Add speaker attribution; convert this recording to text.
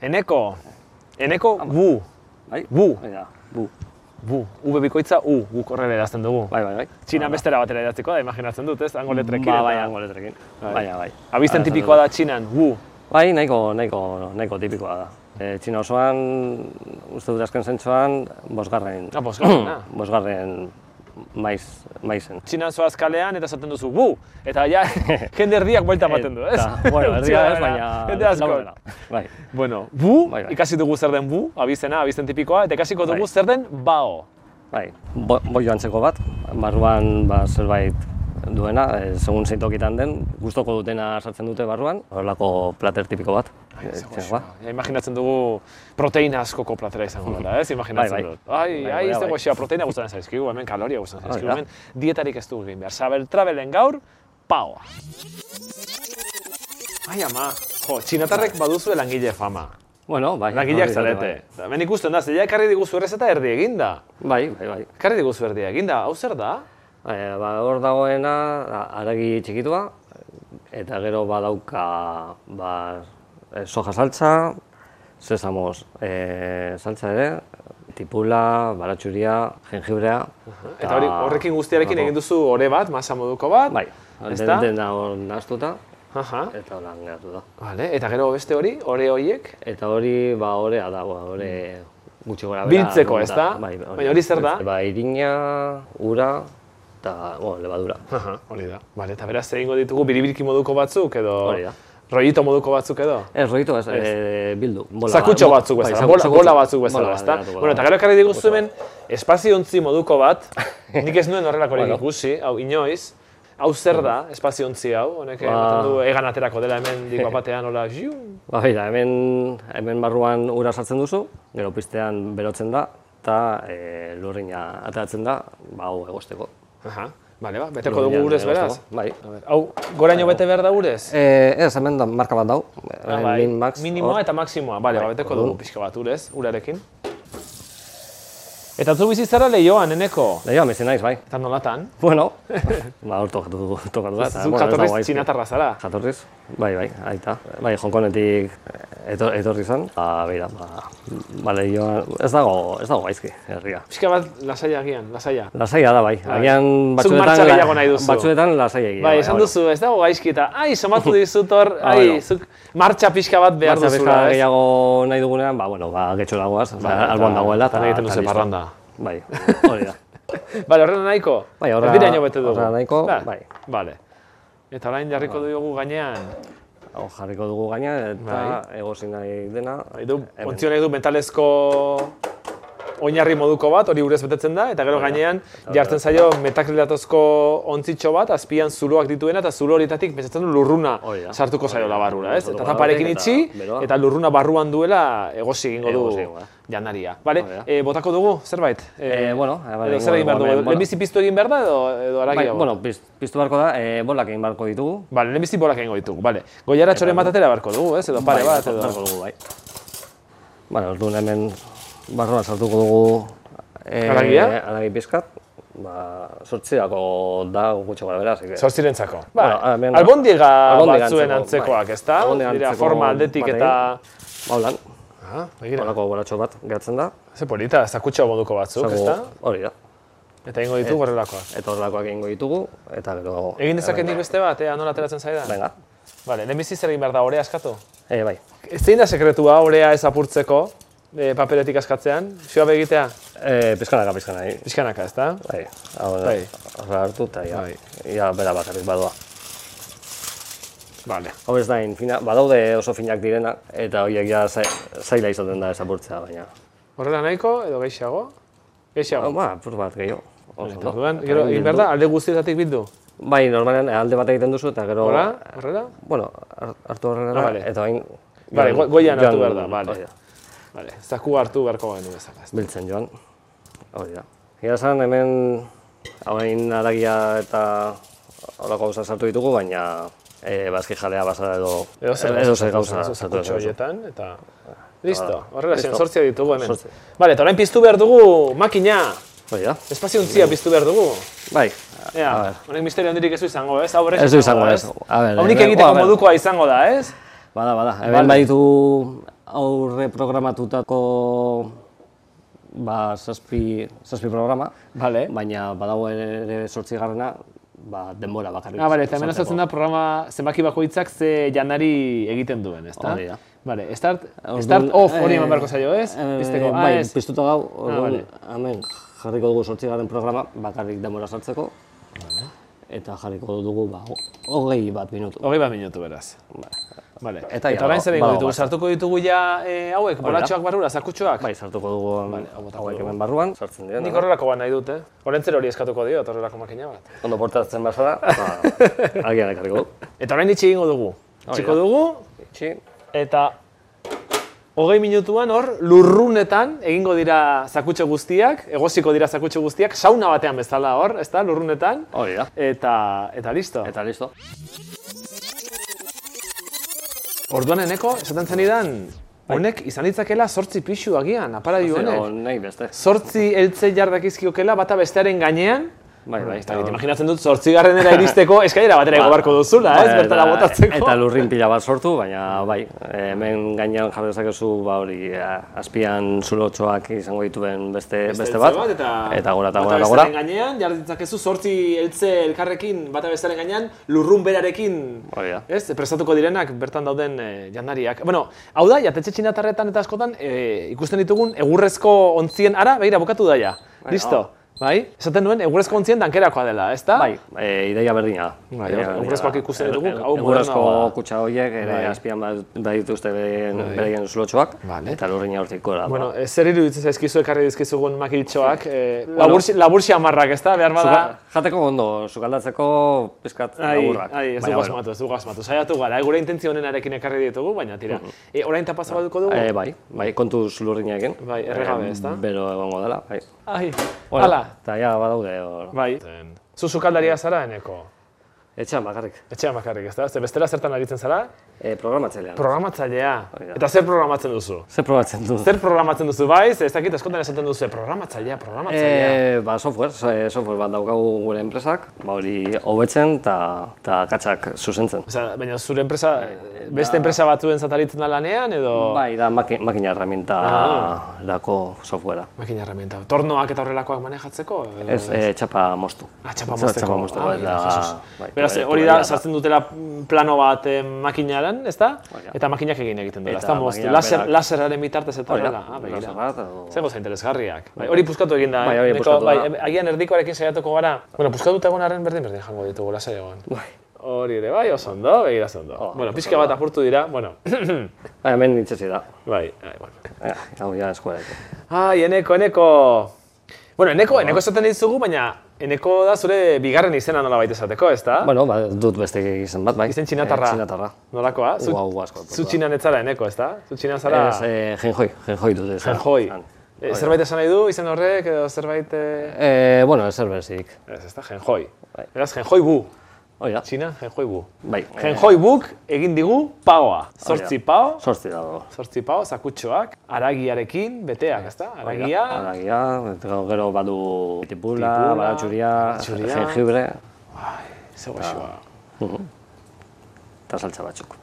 Speaker 1: Eneko. Eneko bu.
Speaker 2: Bai?
Speaker 1: Bu.
Speaker 2: Hori da, bu.
Speaker 1: Bu. U bebikoitza u. Guk horrela erazten dugu.
Speaker 2: Bai, bai, bai.
Speaker 1: Txina bestera batera idatziko da, imaginatzen dut, ez? Hango letrekin.
Speaker 2: Ba,
Speaker 1: eta-
Speaker 2: bai, hango letrekin.
Speaker 1: Bai.
Speaker 2: Baina, bai.
Speaker 1: Abizten
Speaker 2: Hala esaten
Speaker 1: tipikoa da Txinan, wu.
Speaker 2: Bai, nahiko, nahiko, nahiko tipikoa da. E, txina osoan, uste dut azken zentzuan, bosgarren,
Speaker 1: Ah,
Speaker 2: Mm.
Speaker 1: bosgarrena.
Speaker 2: bosgarren maiz, maizen.
Speaker 1: Txinan zoaz kalean eta esaten duzu, bu! Eta ja, jende erdiak buelta ematen du, ez?
Speaker 2: Eta, bueno, erdia ez,
Speaker 1: Txinanera,
Speaker 2: baina...
Speaker 1: Jende asko.
Speaker 2: laurdena. Bai,
Speaker 1: Bueno, bu,
Speaker 2: Bai, bai.
Speaker 1: ikasi dugu zer den bu, abizena, abizten tipikoa, eta ikasiko dugu
Speaker 2: Bai.
Speaker 1: zer den bao.
Speaker 2: bai. Bo, boi joantzeko bat, barruan ba, zerbait duena, e, segun zein tokitan den, gustoko dutena sartzen dute barruan, horrelako plater tipiko bat. e, txinagoa.
Speaker 1: Ja, imaginatzen dugu proteina askoko platera izango dela, ez? Imaginatzen
Speaker 2: Bai, bai.
Speaker 1: dut. Ai,
Speaker 2: Bai,
Speaker 1: ai, ez
Speaker 2: bai,
Speaker 1: dago
Speaker 2: bai.
Speaker 1: xea, proteina gustatzen zaizkigu, hemen kaloria gustatzen
Speaker 2: Hori
Speaker 1: zaizkigu,
Speaker 2: da.
Speaker 1: hemen dietarik ez dugu egin behar. Sabel Travelen gaur, paoa. Ai, ama, jo, txinatarrek baduzu langile fama.
Speaker 2: Bueno, bai.
Speaker 1: Langileak
Speaker 2: hori da,
Speaker 1: zarete. Eta Hemen ikusten da, zeia ekarri diguzu errezeta erdi eginda.
Speaker 2: Bai, bai, bai.
Speaker 1: Ekarri diguzu erdi eginda, hau zer da?
Speaker 2: E, ba, hor dagoena, a- aragi txikitua, eta gero badauka ba, eh, soja saltza, sesamos e, saltza ere, tipula, baratxuria, jengibrea.
Speaker 1: Eta hori, horrekin guztiarekin egin duzu ore bat, masa moduko bat.
Speaker 2: Bai,
Speaker 1: ezta?
Speaker 2: den, dena hor nahastuta,
Speaker 1: Aha.
Speaker 2: eta holan geratu da.
Speaker 1: Vale, eta gero beste hori, ore hoiek,
Speaker 2: Eta hori, ba, orea da, ba, ore gutxi Bai, gora
Speaker 1: Biltzeko,
Speaker 2: ronda.
Speaker 1: ezta? Baina hori zer da?
Speaker 2: Ba, irina, ura, eta, bueno, lebadura.
Speaker 1: Aha, hori da. Vale, eta beraz egingo ditugu biribilki moduko batzuk edo
Speaker 2: Hori da.
Speaker 1: rollito moduko batzuk edo.
Speaker 2: Ez, roitu ez, eh, bildu. Bola,
Speaker 1: Zakutxo
Speaker 2: bo-
Speaker 1: batzuk
Speaker 2: bai,
Speaker 1: bezala,
Speaker 2: zaku-
Speaker 1: bola,
Speaker 2: zakutxo.
Speaker 1: bola batzuk bezala,
Speaker 2: Bola
Speaker 1: ezta?
Speaker 2: bat,
Speaker 1: Bueno, eta gero ekarri diguzu hemen espaziontzi moduko bat. Nik ez nuen horrelakorik
Speaker 2: Bueno.
Speaker 1: ikusi, hau inoiz. Hau zer da, espaziontzi hau, honek
Speaker 2: Ba.
Speaker 1: ematen du egan aterako dela hemen diko batean, hola, ziu.
Speaker 2: Ba, begira, hemen, hemen barruan ura sartzen duzu, gero piztean berotzen da, eta e, lurrina ateratzen da, ba, hau egosteko.
Speaker 1: Aha, bale, ba, beteko dugu urez beraz.
Speaker 2: Bai.
Speaker 1: A ber, Hau, goraino bete behar da urez?
Speaker 2: E, ez, hemen da, marka bat dau,
Speaker 1: Ah,
Speaker 2: hemen
Speaker 1: bai.
Speaker 2: min max, Bai,
Speaker 1: Minimoa eta maksimoa, bale, ba, beteko dugu
Speaker 2: orduan.
Speaker 1: pixka bat urez, urarekin. Eta zu bizi zara lehioan, eneko.
Speaker 2: Leioa, mezi naiz, bai.
Speaker 1: Eta nolatan?
Speaker 2: Bueno, ba, hor tokatu dugu, tokatu da. eta,
Speaker 1: Zu
Speaker 2: Ah, bueno, ez dago
Speaker 1: jatorriz
Speaker 2: gaizki.
Speaker 1: txinatarra zara.
Speaker 2: Jatorriz, bai, bai, aita. Bai, Hongkonetik etor, etorri zen, ba, beira, ba, ba, leioa, ez dago, ez dago gaizki, herria.
Speaker 1: Pixka bat lasaia agian, lasaia.
Speaker 2: Lasaia da bai, agian
Speaker 1: Zuk
Speaker 2: batzuetan,
Speaker 1: martxa gehiago nahi duzu.
Speaker 2: batzuetan lasaia egia.
Speaker 1: Bai, esan duzu, ez dago gaizki eta, ai, somatu dizut hor,
Speaker 2: Ah,
Speaker 1: ai,
Speaker 2: bueno.
Speaker 1: zuk martxa pixka bat behar
Speaker 2: Martxa
Speaker 1: duzula,
Speaker 2: bezala
Speaker 1: ez? Bai,
Speaker 2: gehiago nahi dugunean, ba, bueno, ba, getxora goaz, ba,
Speaker 1: eta-
Speaker 2: alboan dagoela.
Speaker 1: eta egiten duzu
Speaker 2: listo.
Speaker 1: parranda.
Speaker 2: Bai, hori da.
Speaker 1: Bale, horrela nahiko?
Speaker 2: Bai, horra-
Speaker 1: Erdiraino bete dugu.
Speaker 2: horra nahiko,
Speaker 1: Ba,
Speaker 2: bai.
Speaker 1: Bale. Eta orain jarriko dugu gainean,
Speaker 2: Hau jarriko dugu gaina, eta
Speaker 1: Bai.
Speaker 2: egosi nahi dena.
Speaker 1: nahi du, ontzio nahi du metalezko oinarri moduko bat, hori urez betetzen da, eta gero gainean jartzen zaio metakrilatozko ontzitxo bat, azpian zuloak dituena, eta zulo horietatik pentsatzen du lurruna
Speaker 2: Hori da.
Speaker 1: sartuko
Speaker 2: Hori
Speaker 1: zaio
Speaker 2: da.
Speaker 1: barrura, ez? Eta
Speaker 2: Sartuko
Speaker 1: taparekin
Speaker 2: da,
Speaker 1: itxi,
Speaker 2: eta beroa.
Speaker 1: eta lurruna barruan duela egosi egingo du
Speaker 2: Egosi egingo da.
Speaker 1: jandaria. Bale,
Speaker 2: Hori da.
Speaker 1: e, botako dugu, zerbait? E,
Speaker 2: Eh, bueno, eh, bale,
Speaker 1: edo zer egin behar
Speaker 2: egingo dugu
Speaker 1: dugu?
Speaker 2: hemen, bueno.
Speaker 1: Lehenbizi piztu egin behar da edo, edo
Speaker 2: Bai,
Speaker 1: haragiago?
Speaker 2: bueno, piz, piztu beharko da, eh, bolak egin beharko ditugu.
Speaker 1: Bale, lehenbizi bolak egingo ditugu, bale. Goiara txoren bat atera beharko dugu, ez? Edo pare bat,
Speaker 2: beharko
Speaker 1: edo...
Speaker 2: dugu, bai. Bueno, orduan hemen barruan sartuko dugu eh,
Speaker 1: Haragia?
Speaker 2: aragi pizkat. Ba, sortzirako da gutxo gara bera, así que-
Speaker 1: Zortzirentzako. Ba,
Speaker 2: Bueno, ah, venga.
Speaker 1: albondiga
Speaker 2: Albondiga
Speaker 1: batzuen
Speaker 2: antzeko,
Speaker 1: antzekoak,
Speaker 2: bai.
Speaker 1: ezta?
Speaker 2: Albondiga
Speaker 1: Dira
Speaker 2: antzeko
Speaker 1: forma aldetik
Speaker 2: batekin.
Speaker 1: eta...
Speaker 2: Ba, holan,
Speaker 1: Ah, begira.
Speaker 2: holako bolatxo bat geratzen da.
Speaker 1: Ze polita, zakutxo moduko batzuk,
Speaker 2: Zago-
Speaker 1: ezta?
Speaker 2: Hori da.
Speaker 1: Eta ingo ditugu horrelakoak.
Speaker 2: Eta horrelakoak egingo ditugu, eta gero... eh,
Speaker 1: Egin dezaket nik beste bat, ea nola ateratzen zaidan?
Speaker 2: Venga,
Speaker 1: Bale, lehenbizi zer egin behar da, orea askatu?
Speaker 2: e, bai.
Speaker 1: Zein da sekretua orea ez apurtzeko, eh, paperetik askatzean? Xua begitea?
Speaker 2: E, pizkanaka, pizkanaka.
Speaker 1: Pixkanaka, ezta?
Speaker 2: Bai, hau da,
Speaker 1: Bai.
Speaker 2: horra hartu eta ia,
Speaker 1: Bai.
Speaker 2: ia bera bakarrik badoa.
Speaker 1: Bale.
Speaker 2: Hau ez dain, fina, badaude oso finak direnak, eta horiek ja zai- zaila izaten da ezaburtzea, baina.
Speaker 1: Horrela nahiko edo gehiago?
Speaker 2: Hau,
Speaker 1: Gehiago.
Speaker 2: ba, apur bat gehiago. Oso,
Speaker 1: Eta
Speaker 2: ondo.
Speaker 1: Orduan, gero egin behar da, alde guztietatik bildu.
Speaker 2: Bai, normalen alde bat egiten duzu, eta gero...
Speaker 1: Hora, horrela?
Speaker 2: Bueno, har- hartu horrela,
Speaker 1: Ah, vale.
Speaker 2: eta bain...
Speaker 1: Vale, go- goian hartu behar da, vale.
Speaker 2: hori da.
Speaker 1: Bale, zaku hartu beharko genu bezala. ezta?
Speaker 2: biltzen joan. Hori da. Gira esan, hemen hauein aragia eta horako gauza sartu ditugu, baina e, bazki jalea bazara edo
Speaker 1: Edo zer
Speaker 2: edo zer gauza
Speaker 1: gauza
Speaker 2: sartu
Speaker 1: zakutxo
Speaker 2: dezakezu.
Speaker 1: horietan, eta... Listo,
Speaker 2: Hala.
Speaker 1: horrela zen,
Speaker 2: Listo.
Speaker 1: sortzia ditugu hemen.
Speaker 2: Zortzi.
Speaker 1: Bale, eta orain piztu behar dugu makina,
Speaker 2: Hori da.
Speaker 1: espaziontzia piztu behar dugu.
Speaker 2: Bai.
Speaker 1: Ea, honek misterio handirik ez du izango, ez? Hau berez
Speaker 2: Ez du izango,
Speaker 1: da,
Speaker 2: ez. A ber,
Speaker 1: Hau nik
Speaker 2: hemen-
Speaker 1: egiteko
Speaker 2: Ua, a ber.
Speaker 1: modukoa izango da, ez?
Speaker 2: Bada, bada. Hemen
Speaker 1: Vale.
Speaker 2: baditu aurre reprogramatutako ba, zazpi, zazpi programa,
Speaker 1: Bale.
Speaker 2: baina badago ere sortzigarrena ba, denbora bakarrik.
Speaker 1: Ah, bale, eta hemen
Speaker 2: izateko.
Speaker 1: azaltzen da programa zenbaki bakoitzak ze janari egiten duen, ezta?
Speaker 2: Hori da.
Speaker 1: Bale, start,
Speaker 2: Orduan,
Speaker 1: start off hori
Speaker 2: eh,
Speaker 1: eman beharko zaio, ez?
Speaker 2: eh,
Speaker 1: Pizteko, ah,
Speaker 2: bai,
Speaker 1: ez.
Speaker 2: piztuta gau, orduan,
Speaker 1: bale.
Speaker 2: hemen jarriko dugu sortzigarren programa, bakarrik denbora sartzeko. Eta jarriko dugu, ba, ho- hogei bat minutu.
Speaker 1: Hogei bat minutu beraz. Vale.
Speaker 2: Eta ja,
Speaker 1: orain
Speaker 2: badago-
Speaker 1: zer egingo
Speaker 2: badago
Speaker 1: ditugu,
Speaker 2: bat.
Speaker 1: sartuko ditugu ja eh, hauek, bolatxoak barrura, zakutxoak.
Speaker 2: Bai, sartuko dugu vale,
Speaker 1: hau botako
Speaker 2: hauek
Speaker 1: dugu.
Speaker 2: hemen barruan, sartzen dira.
Speaker 1: Nik horrelako bat nahi dut, eh? Horrentzer hori eskatuko dio, horrelako makina bat.
Speaker 2: Ondo portatzen bazara, ba, agian ekarriko dugu.
Speaker 1: Eta orain itxi egingo dugu.
Speaker 2: da.
Speaker 1: Txiko dugu,
Speaker 2: Itxi,
Speaker 1: eta hogei minutuan hor lurrunetan egingo dira zakutxe guztiak, egosiko dira zakutxe guztiak, sauna batean bezala hor, ezta, lurrunetan.
Speaker 2: hori da.
Speaker 1: Eta, eta listo.
Speaker 2: Eta listo.
Speaker 1: Orduan eneko, esaten zenidan,
Speaker 2: Bai.
Speaker 1: honek izan ditzakela sortzi pixu agian, aparailu
Speaker 2: Zero,
Speaker 1: honek.
Speaker 2: nahi beste.
Speaker 1: Sortzi eltze jardakizkiokela bata bestearen gainean,
Speaker 2: Bai, bai.
Speaker 1: Ez dakit, imaginatzen dut zortzigarrenera iristeko eskailera batera igo beharko duzula, ez? Bertara botatzeko.
Speaker 2: Ba. Bai, Eta lurrin pila bat sortu, baina bai, hemen gainean jarri dezakezu ba hori eh, azpian zulotxoak izango dituen beste, beste bat.
Speaker 1: eta,
Speaker 2: eta gora
Speaker 1: bata
Speaker 2: eta gora eta
Speaker 1: bestearen
Speaker 2: gora.
Speaker 1: gainean, jar ditzakezu zortzi eltze elkarrekin, bata bestearen gainean, lurrun berarekin,
Speaker 2: Hori da.
Speaker 1: ez? Prestatuko direnak bertan dauden e, jandariak. Bueno, hau da, jatetxe txinatarretan eta askotan eh, ikusten ditugun egurrezko ontzien ara, begira, bukatu daia. Listo, bai? Esaten nuen, egurrezko ontzien dankerakoa dela, ez da?
Speaker 2: Bai, e, ideia berdina da.
Speaker 1: Bai,
Speaker 2: Ideia
Speaker 1: hor-
Speaker 2: berdina
Speaker 1: egurrezkoak
Speaker 2: da.
Speaker 1: ikusten
Speaker 2: E-
Speaker 1: ditugu,
Speaker 2: e-
Speaker 1: hau
Speaker 2: Egurrezko
Speaker 1: modernoa da.
Speaker 2: kutsa horiek ere
Speaker 1: Bai.
Speaker 2: azpian bad- badituzte beraien, beraien zulotxoak,
Speaker 1: Vale.
Speaker 2: eta lurrin hortik gora.
Speaker 1: Bueno, eh, zer iruditzen zaizkizu ekarri dizkizugun makiltxoak, eh, labur, labur xamarrak, ez da? Behar bada...
Speaker 2: Zuka- jateko ondo, sukaldatzeko pizkat
Speaker 1: Ai,
Speaker 2: laburrak.
Speaker 1: ai, ez
Speaker 2: Baina,
Speaker 1: dugu
Speaker 2: bueno,
Speaker 1: asmatu, ez dugu asmatu. Saiatu gara, eh, gure intentzio honenarekin ekarri ditugu, baina tira. E, orain tapa zabalduko dugu?
Speaker 2: Eh, bai, bai, kontuz lurrinekin.
Speaker 1: Bai, erregabe, ezta?
Speaker 2: Bero egongo dela, bai.
Speaker 1: Ai,
Speaker 2: Bueno,
Speaker 1: hala.
Speaker 2: Eta ja, badaude hor.
Speaker 1: Bai. Zu sukaldaria zara, eneko.
Speaker 2: Etxean bakarrik.
Speaker 1: Etxean bakarrik, ez da? Ze bestela zertan aritzen zara?
Speaker 2: E, programatzailean.
Speaker 1: Programatzailea.
Speaker 2: Hori da.
Speaker 1: Eta zer programatzen duzu?
Speaker 2: Ze probatzen du?
Speaker 1: Zer programatzen duzu, bai? Ze ez dakit askotan esaten duzu, programatzailea, programatzailea.
Speaker 2: E, ba, software, so- software bat daukagu gure enpresak, ba hori hobetzen eta katxak zuzentzen.
Speaker 1: Osea, baina zure enpresa,
Speaker 2: Eh,
Speaker 1: beste enpresa batzuen zataritzen da lanean, edo...
Speaker 2: Bai, da maki, makina herramienta dako softwarea.
Speaker 1: Makina herramienta. Tornoak eta horrelakoak manejatzeko? edo-
Speaker 2: Ez, e, txapa mostu.
Speaker 1: Ah, txapa mozteko.
Speaker 2: Txapa moztu,
Speaker 1: Ah,
Speaker 2: eta...
Speaker 1: mira, Jesus.
Speaker 2: bai,
Speaker 1: Beraz,
Speaker 2: bai,
Speaker 1: hori
Speaker 2: bai,
Speaker 1: da,
Speaker 2: bai,
Speaker 1: sartzen dutela mm, plano bat eh, makinaran, ez da?
Speaker 2: Hori da.
Speaker 1: Eta makinak egin egiten dela,
Speaker 2: Bai, Eta
Speaker 1: ez da moztu.
Speaker 2: makinak
Speaker 1: Laser,
Speaker 2: berak-
Speaker 1: laseraren bitartez eta
Speaker 2: Hori da,
Speaker 1: horrela. Ah,
Speaker 2: laser
Speaker 1: begira.
Speaker 2: bat edo-
Speaker 1: Zengo zain interesgarriak. Bai, hori puskatu egin da.
Speaker 2: Bai,
Speaker 1: eh?
Speaker 2: hori
Speaker 1: Neko-
Speaker 2: puskatu
Speaker 1: bai,
Speaker 2: da.
Speaker 1: em, agian erdikoarekin saiatuko gara. Bueno, puskatuta egon arren berdin-berdin jango ditugu, laser egon. Hori ere, bai, oso ondo, begira oso ondo.
Speaker 2: Oh,
Speaker 1: bueno, pixka bat apurtu dira, bueno,
Speaker 2: Bai, hemen nintzesi da.
Speaker 1: bai, ai, bueno.
Speaker 2: Eh, Hau ja eskuareko.
Speaker 1: Ai, eneko, eneko. Bueno, eneko,
Speaker 2: Bai.
Speaker 1: eneko esaten dizugu, baina eneko da zure bigarren izena nola baita esateko, ez da?
Speaker 2: Bueno, ba, dut beste izen bat, bai.
Speaker 1: Izen txinatarra.
Speaker 2: Eh, txinatarra.
Speaker 1: Nolakoa? Zu,
Speaker 2: Ua, ua, asko atortu
Speaker 1: zu
Speaker 2: da.
Speaker 1: txinan etzara eneko, ezta? Zu txinan zara
Speaker 2: Ez, eh, jenjoi, jenjoi dut ez.
Speaker 1: joi.
Speaker 2: Han.
Speaker 1: Eh, zerbait esan nahi du, izen horrek, edo zerbait... Eh...
Speaker 2: Eh, bueno, ez berzik.
Speaker 1: Ez, ezta, jenjoi. Beraz, jenjoi bu.
Speaker 2: Hoi da.
Speaker 1: Txinan, jenjoi bu.
Speaker 2: Bai. eh,
Speaker 1: Jenjoi buk egin digu paoa. Zortzi pao,
Speaker 2: Zortzi dago.
Speaker 1: zortzi pao, zakutxoak, aragiarekin, beteak, ezta? Aragia,
Speaker 2: Aragia, eta gero badu tipula,
Speaker 1: Tipula,
Speaker 2: baratxuria,
Speaker 1: baratxuria.
Speaker 2: jengibre,
Speaker 1: zego xua.
Speaker 2: eta saltza batzuk.